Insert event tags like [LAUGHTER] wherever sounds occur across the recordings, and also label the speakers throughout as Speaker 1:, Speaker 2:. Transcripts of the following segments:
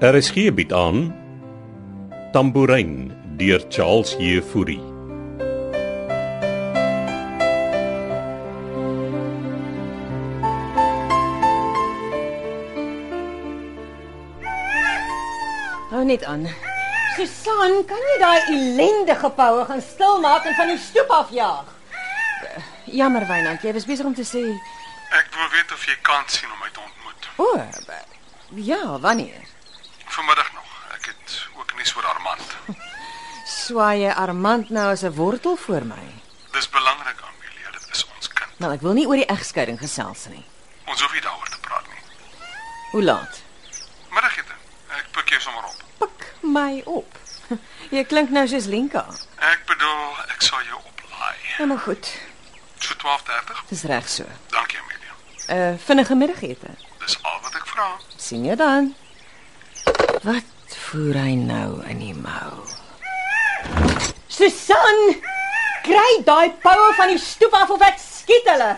Speaker 1: RSG bied Er aan Tambourin deur Charles Jefouri.
Speaker 2: Hou Nou, net aan.
Speaker 3: Susan, kan jy daai ellendige poue gaan stilmaak en van die stoep af jaag?
Speaker 2: Eh, Jammer Wynand, jy was besig om te sê,
Speaker 4: Ek wil weet of jy kan sien om my te ontmoet.
Speaker 2: o, oh, ja, wanneer?
Speaker 4: Vanmiddag nog. Ek het ook nuus oor Armand.
Speaker 2: Swaai jy Armand nou as 'n wortel voor my.
Speaker 4: Dis belangrik, Amelia, dit is ons kind.
Speaker 2: Nou ek wil nie oor die egskeiding gesels nie.
Speaker 4: Ons hoef nie daaroor te praat nie.
Speaker 2: Hoe laat?
Speaker 4: Middagete. Ek pik jou sommer op.
Speaker 2: Pik my op. [LAUGHS] Jy klink nou soos Lenka.
Speaker 4: Ek bedoel, ek sal jou oplaai.
Speaker 2: Nou maar goed,
Speaker 4: So 12:30.
Speaker 2: dis reg so.
Speaker 4: Dankie, Amelia.
Speaker 2: 'n uh, Vinnige middagete.
Speaker 4: Dis al wat ek vra.
Speaker 2: sien jy dan? Wat voer hy nou in die mou?
Speaker 3: Susan, kry daai poue van die stoep af of ek skiet hulle.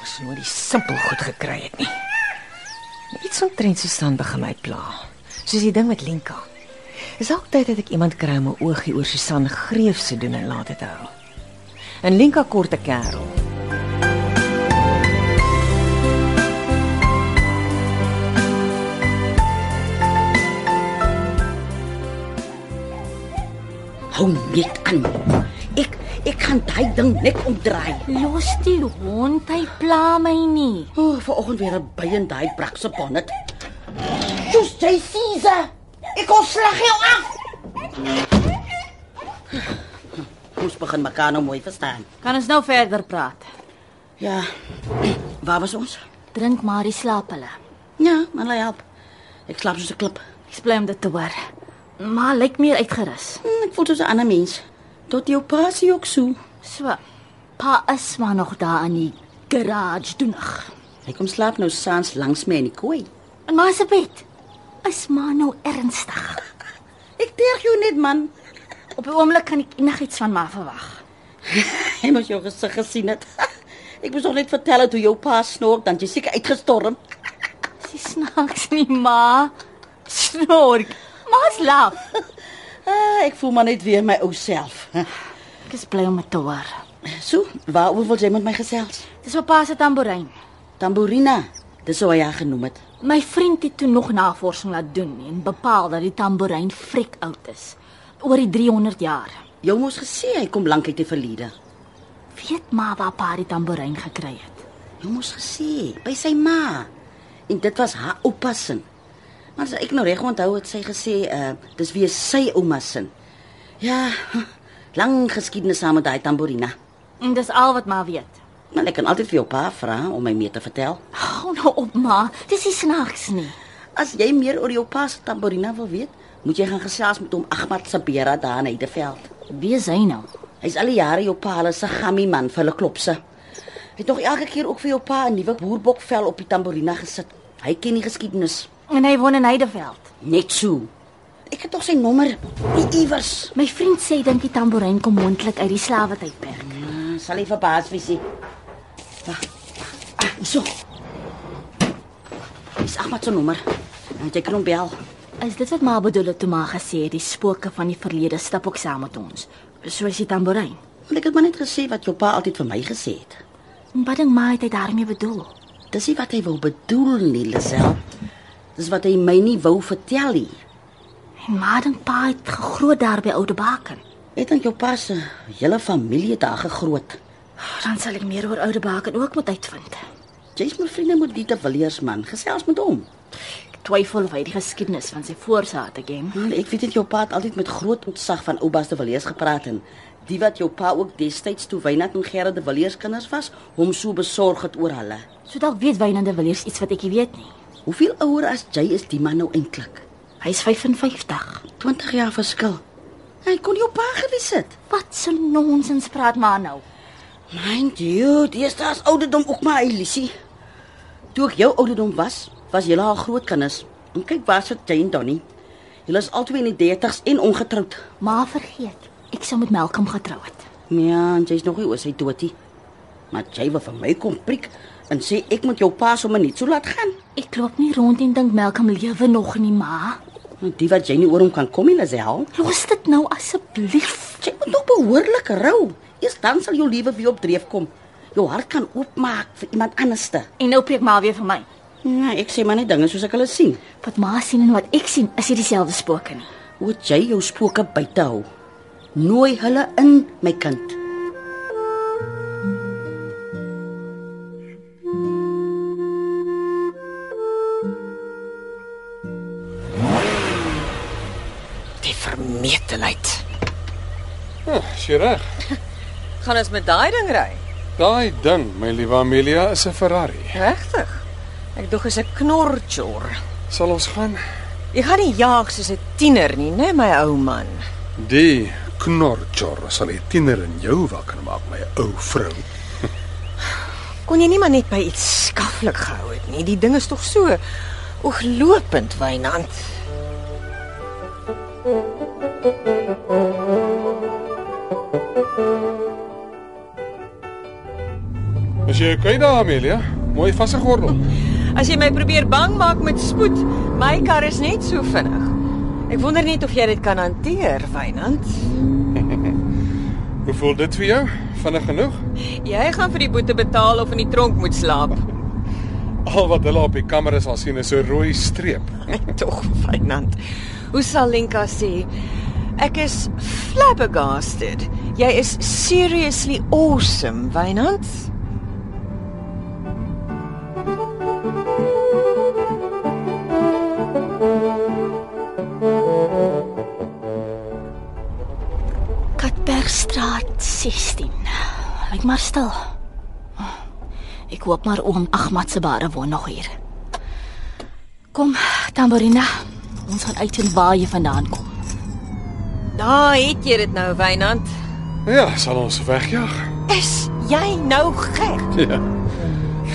Speaker 2: Ons moet die simpel goed gekry het nie. Maar Iets omtrent so staan begin my pla. Soos die ding met Lenka. Dis ook tyd dat ek iemand kry om 'n oogie oor Susan Greef se doen en laat dit hou. En Lenka kort 'n kerel.
Speaker 5: Hou net aan. Ek ek gaan daai ding net omdraai.
Speaker 6: Los die hond, hy pla my nie.
Speaker 5: O, oh, vanoggend weer 'n by in daai brakse bonnet.
Speaker 3: Soos jy siese. Ek ontslag jou af.
Speaker 5: Ons begin mekaar nou mooi verstaan.
Speaker 6: Kan ons nou verder praat?
Speaker 5: Ja. Waar was ons?
Speaker 6: Drink maar, hy slaap hulle.
Speaker 5: Ja, maar lei help. Ek slaap soos 'n klip.
Speaker 6: Ek bly om dit te hoor. Maar lyk meer uitgerus.
Speaker 5: Hm, Ek voel soos 'n ander mens. Tot jou pa sien ook so.
Speaker 6: So, pa is maar nog daar in die garage doenig.
Speaker 5: Hy kom slaap nou saans langs my in die kooi.
Speaker 6: En maar se bed is maar nou ernstig.
Speaker 5: Ek terg jou net man.
Speaker 6: Op 'n oomblik kan ek enigiets van ma verwag.
Speaker 5: Hy moes jou gesig gesien het. [LAUGHS] Ek moes nog net vertel het hoe jou pa snork, dan het jy seker uitgestorm.
Speaker 6: Sy snaaks nie, ma. Snork. Ma's laf.
Speaker 5: Ah, ek voel maar net weer my ou self. [LAUGHS]
Speaker 6: Ek is bly om dit te hoor.
Speaker 5: So, waaroor wil jy met my gesels?
Speaker 6: Dis op pa se tamboerijn.
Speaker 5: Tambourina, dis hoe hy haar genoem het.
Speaker 6: My vriend het toe nog navorsing laat doen en bepaal dat die tamboerijn vrek oud is, oor die 300 jaar.
Speaker 5: Jou moes gesê hy kom lank uit die verlede.
Speaker 6: Weet maar waar pa die tamboerijn gekry het.
Speaker 5: Jou moes gesê by sy ma. En dit was haar oupa se. Maar as ek nou reg onthou het sy gesê, uh, dis weer sy ouma se. Ja, lang geskiedenis saam met daai tambourina.
Speaker 6: En dis al wat ma weet.
Speaker 5: Maar ek kan altyd vir jou pa vra om my meer te vertel.
Speaker 6: Hou nou op ma, dis nie snaaks nie.
Speaker 5: As jy meer oor jou pa se tambourina wil weet, moet jy gaan gesels met hom Ahmad Sabera daar in Heideveld.
Speaker 6: Wie is hy nou?
Speaker 5: Hy's al die jare jou pa hulle se gammy man vir hulle klopse. Hy het nog elke keer ook vir jou pa 'n nuwe boerbokvel op die tambourina gesit. Hy ken die geskiedenis
Speaker 6: En hy woon in Heideveld.
Speaker 5: net so. Ek het tog sy nommer nie iewers.
Speaker 6: My vriend sê hy dink die tamboerijn kom moontlik uit die slawetydperk.
Speaker 5: Ah, Sal hy verbaas wees. hy. Wag. Ah, so. Dis Ahmad se nommer. Dan jy kan hom bel.
Speaker 6: Is dit wat ma bedoel het toe ma gesê het die spooke van die verlede stap ook saam met ons, soos die tamboerijn?
Speaker 5: Want ek het maar net gesê wat jou pa altyd vir my gesê het.
Speaker 6: En wat dink ma het hy daarmee bedoel?
Speaker 5: Dis nie wat hy wou bedoel nie, Lisel. Dis wat hy my nie wou vertel nie.
Speaker 6: En ma dink pa het gegroot daar by Oude Baken.
Speaker 5: Ek dink jou pa se hele familie het daar gegroot.
Speaker 6: Dan sal ek meer oor Oude Baken ook moet uitvind.
Speaker 5: Jy's my vriende met Dieter Villiers man, gesels met hom.
Speaker 6: Ek twyfel of hy die geskiedenis van sy voorsaate ken.
Speaker 5: Man, ek weet dit jou pa het altyd met groot ontzag van oupas de Villiers gepraat en die wat jou pa ook destyds toe Wynand en Gerard de Villiers kinders was, hom so besorg het oor hulle.
Speaker 6: So dalk weet Wynand de Villiers iets wat ek nie weet nie.
Speaker 5: Hoeveel ouer as jy is die man nou eintlik?
Speaker 6: Hy's 55.
Speaker 5: 20 jaar verskil. Hy kon jou pa gewees het.
Speaker 6: Wat so nonsens praat maar nou.
Speaker 5: Mind you, dis daas ouderdom ook maar Elisie. Toe ek jou ouderdom was, was julle al groot kinders. En kyk waar sit jy en Donnie. Julle is albei in die 30's en ongetroud.
Speaker 6: Ma vergeet, ek sou met Malcolm getrou het.
Speaker 5: Ja, en jy's nog nie oor sy doodie. Maar jy wil vir my kom priek en sê ek moet jou pa sommer net so laat gaan.
Speaker 6: Ek loop nie rond en dink Malcolm lewe nog nie, ma.
Speaker 5: Want die wat jy nie oor hom kan kom nie, is hy help.
Speaker 6: Los dit nou asseblief.
Speaker 5: Jy moet nog behoorlik rou. Eers dan sal jou lewe weer op dreef kom. Jou hart kan oopmaak vir iemand anderste.
Speaker 6: En nou preek maar weer vir my.
Speaker 5: Nee, ek sê maar net dinge soos ek hulle sien.
Speaker 6: Wat ma sien en wat ek sien, is nie dieselfde spooke nie.
Speaker 5: Moet jy jou spooke buite hou. Nooi hulle in, my kind.
Speaker 2: Die vermetelheid.
Speaker 7: Ja, sy reg.
Speaker 2: Gaan ons met daai ding ry?
Speaker 7: Daai ding, my liewe Amelia, is 'n Ferrari.
Speaker 2: Regtig? Ek dog is 'n knorjor.
Speaker 7: Sal ons gaan?
Speaker 2: Jy gaan nie jaag soos 'n tiener nie, né, my ou man?
Speaker 7: Die knorjor sal die tiener in jou wakker maak, my ou vrou.
Speaker 2: Kon jy nie maar net by iets skaflik gehou het nie? Die ding is tog so ooglopend, Wynand.
Speaker 7: Is jy okay daar, Amelia? Mooi vasgegordel.
Speaker 2: As jy my probeer bang maak met spoed, my kar is net so vinnig. Ek wonder net of jy dit kan hanteer, Wynand.
Speaker 7: Hoe voel dit vir jou? Vinnig genoeg?
Speaker 2: Jy gaan vir die boete betaal of in die tronk moet [LAUGHS] slaap.
Speaker 7: Al wat hulle op die kamera sal sien is 'n rooi streep.
Speaker 2: Nee, tog, Wynand. Hoe sal Lenka sê? Ek is flabbergasted. Jy is seriously awesome, Wynand.
Speaker 6: Katbergstraat 16. Lyk maar stil. Ek hoop maar oom Ahmad se bare woon nog hier. Kom, Tamborina. Ons gaan uitvind waar jy vandaan kom.
Speaker 2: Daar het jy dit nou, Wynand.
Speaker 7: Ja, sal ons wegjaag.
Speaker 2: Is jy nou gek?
Speaker 7: Ja.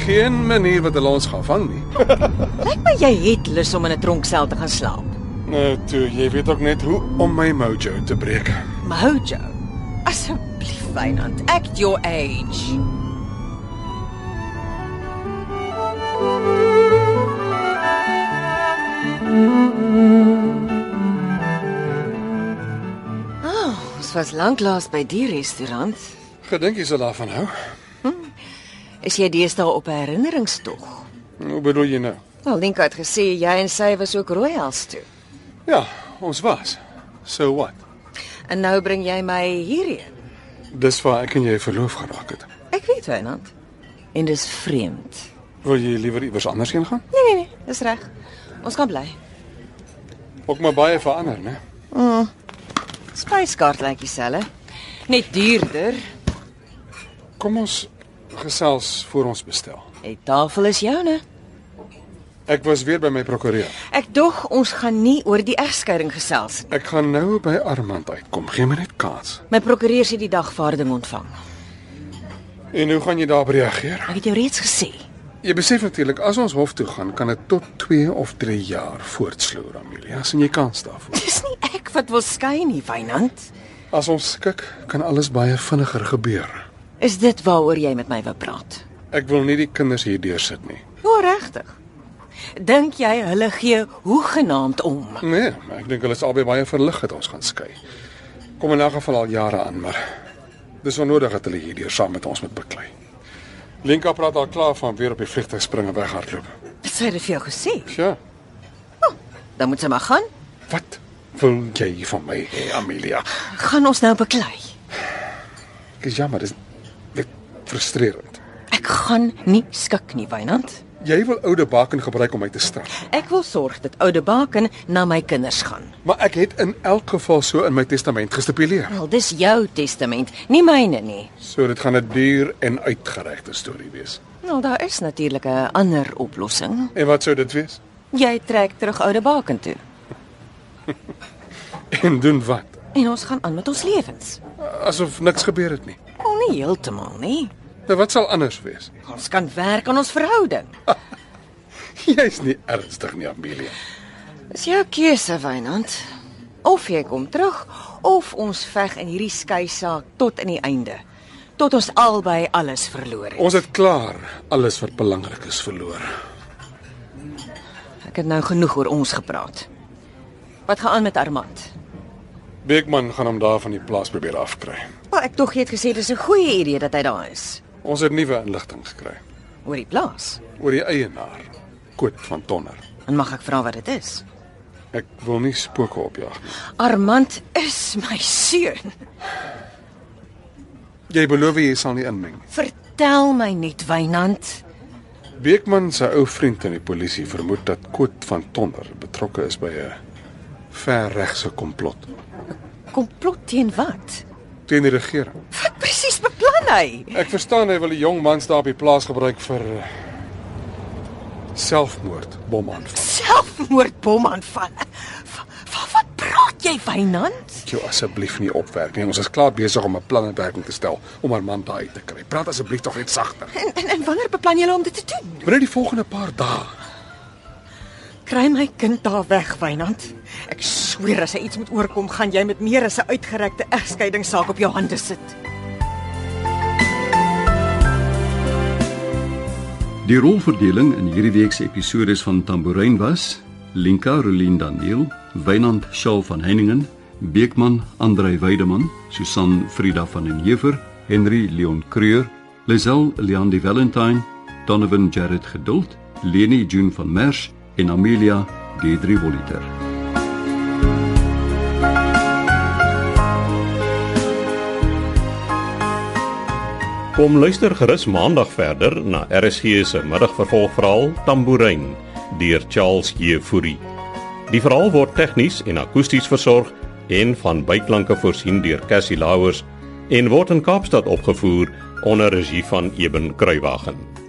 Speaker 7: Geen manier wat hulle ons gaan vang nie.
Speaker 2: Lyk my jy het lus om in 'n tronksel te gaan slaap.
Speaker 7: Nou toe, jy weet ook net hoe om my mojo te breek.
Speaker 2: Mojo. Asseblief, Wynand, act your age. Oh, ons was lanklaas by die restaurant.
Speaker 7: Gedink jy sal daarvan hou?
Speaker 2: Is jy deesdae op 'n herinneringstog?
Speaker 7: Hoe bedoel jy nou?
Speaker 2: Wel, Linka het gesê jy en sy was ook Royals toe.
Speaker 7: Ja, ons was. So what?
Speaker 2: En nou bring jy my hierheen.
Speaker 7: Dis waar ek en jy verloof geraak het.
Speaker 2: Ek weet, Wynand. En dis vreemd.
Speaker 7: Wil jy liewer iewers anders heen gaan?
Speaker 2: Nee, nee, nee, dis reg. Ons kan bly.
Speaker 7: Ook maar baie verander, né?
Speaker 2: Spyskaart lyk dieselfde. Net duurder.
Speaker 7: Kom ons gesels voor ons bestel.
Speaker 2: Die tafel is joune.
Speaker 7: Ek was weer by my prokureur.
Speaker 2: Ek dog ons gaan nie oor die egskeiding gesels nie.
Speaker 7: Ek gaan nou by Armand uitkom. Geen minuut kans.
Speaker 2: My prokureur het die dagvaarding ontvang.
Speaker 7: En hoe gaan jy daarop reageer?
Speaker 2: Ek het jou reeds gesê.
Speaker 7: Jy besef natuurlik as ons hof toe gaan, kan dit tot 2 of 3 jaar voortsloer, Amelia, as jy kans daarvoor.
Speaker 2: Dis nie ek wat wil skei nie, Wynand.
Speaker 7: As ons skik, kan alles baie vinniger gebeur.
Speaker 2: Is dit waaroor jy met my wou praat?
Speaker 7: Ek wil nie die kinders hier deursit nie.
Speaker 2: Nou regtig. Dink jy hulle gee hoegenaamd om?
Speaker 7: Nee, maar ek dink hulle is albei baie verlig dat ons gaan skei. Kom in 'n geval al jare aan, maar dis onnodig dat hulle hierdeur saam met ons moet beklei. Lenka praat al klaar van weer op die vliegtuig spring en weghardloop.
Speaker 2: Het sy dit vir jou gesê?
Speaker 7: Sjoe.
Speaker 2: Dan moet sy maar gaan.
Speaker 7: Wat wil jy van my hê, Amelia?
Speaker 2: Gaan ons nou beklei?
Speaker 7: Ek is jammer, dis dit frustrerend.
Speaker 2: Ek gaan nie skik nie, Wynand.
Speaker 7: Jy wil oude baken gebruik om my te straf,
Speaker 2: Ek wil sorg dat oude Baken na my kinders gaan.
Speaker 7: maar ek het in elk geval so in my testament gestipuleer.
Speaker 2: Wel, dis jou testament, nie myne nie.
Speaker 7: So dit gaan 'n duur en uitgerekte storie wees.
Speaker 2: Nou daar is natuurlik 'n ander oplossing.
Speaker 7: En wat sou dit wees? [LAUGHS]
Speaker 2: Jy trek terug oude Baken toe
Speaker 7: En doen wat?
Speaker 2: en ons gaan aan met ons lewens.
Speaker 7: Asof niks gebeur het nie.
Speaker 2: Al nie heeltemal nie.
Speaker 7: Nou wat sal anders wees? [LAUGHS]
Speaker 2: Ons kan werk aan ons verhouding.
Speaker 7: Jy's nie ernstig nie, Amelia.
Speaker 2: Dis jou keuse, Wynand. Of jy kom terug of ons veg in hierdie skei saak tot in die einde. Tot ons albei alles verloor het.
Speaker 7: Ons het klaar alles wat belangrik is verloor.
Speaker 2: Ek het nou genoeg oor ons gepraat. Wat gaan aan met Armand?
Speaker 7: Beekman gaan hom daar van die plaas probeer afkry.
Speaker 2: Wel, ek tog jy het gesê dis 'n goeie idee dat hy daar is
Speaker 7: Ons het nuwe inligting gekry
Speaker 2: oor die plaas.
Speaker 7: oor die eienaar, Koet van Tonner.
Speaker 2: En mag ek vra wat dit is?
Speaker 7: Ek wil nie spooke opjaag nie.
Speaker 2: Armand is my seun.
Speaker 7: Jy beloof jy sal nie inmeng. nie.
Speaker 2: Vertel my net, Wynand.
Speaker 7: Beekman se ou vriend in die polisie vermoed dat Koet van Tonner betrokke is by 'n verregse komplot
Speaker 2: Komplot teen wat?
Speaker 7: teen die regering.
Speaker 2: Wat presies beplan hy?
Speaker 7: Ek verstaan hy wil die jong mans daar op die plaas gebruik vir eh, selfmoord bomaanval.
Speaker 2: Selfmoordbomaanval. Van wat praat jy, Wynand?
Speaker 7: Jou asseblief nie opwerk nie. Ons is klaar besig om 'n plan in werking te stel om haar man daai te kry. Praat asseblief tog net sagter.
Speaker 2: En en, en wanneer beplan julle om dit te doen?
Speaker 7: Binne die volgende paar dae
Speaker 2: Kry my kind daar weg, Wynand. Ek sweer as hy iets moet oorkom, gaan jy met meer as 'n uitgerekte egskeidingssaak op jou hande sit.
Speaker 8: Die rolverdeling in hierdie week se episode van Tambourin was: Linka Rolien Daniel, Wynand Shaw van Heiningen, Beekman Andrei Weideman, Susan Frida van den Heever, Henry Leon Creur, Lisel Leon die Valentine, Donovan Jared Geduld, Leni June van Merwe en Amelia Gedri Voliter.
Speaker 1: Kom luister gerus maandag verder na RSG se middagvervolgverhaal Tambourine deur Charles Jefouri. Die verhaal word tegnies en akoesties versorg en van byklanke voorsien deur Cassie Lauers en word in Kaapstad opgevoer onder regie van Eben Kruiwagen.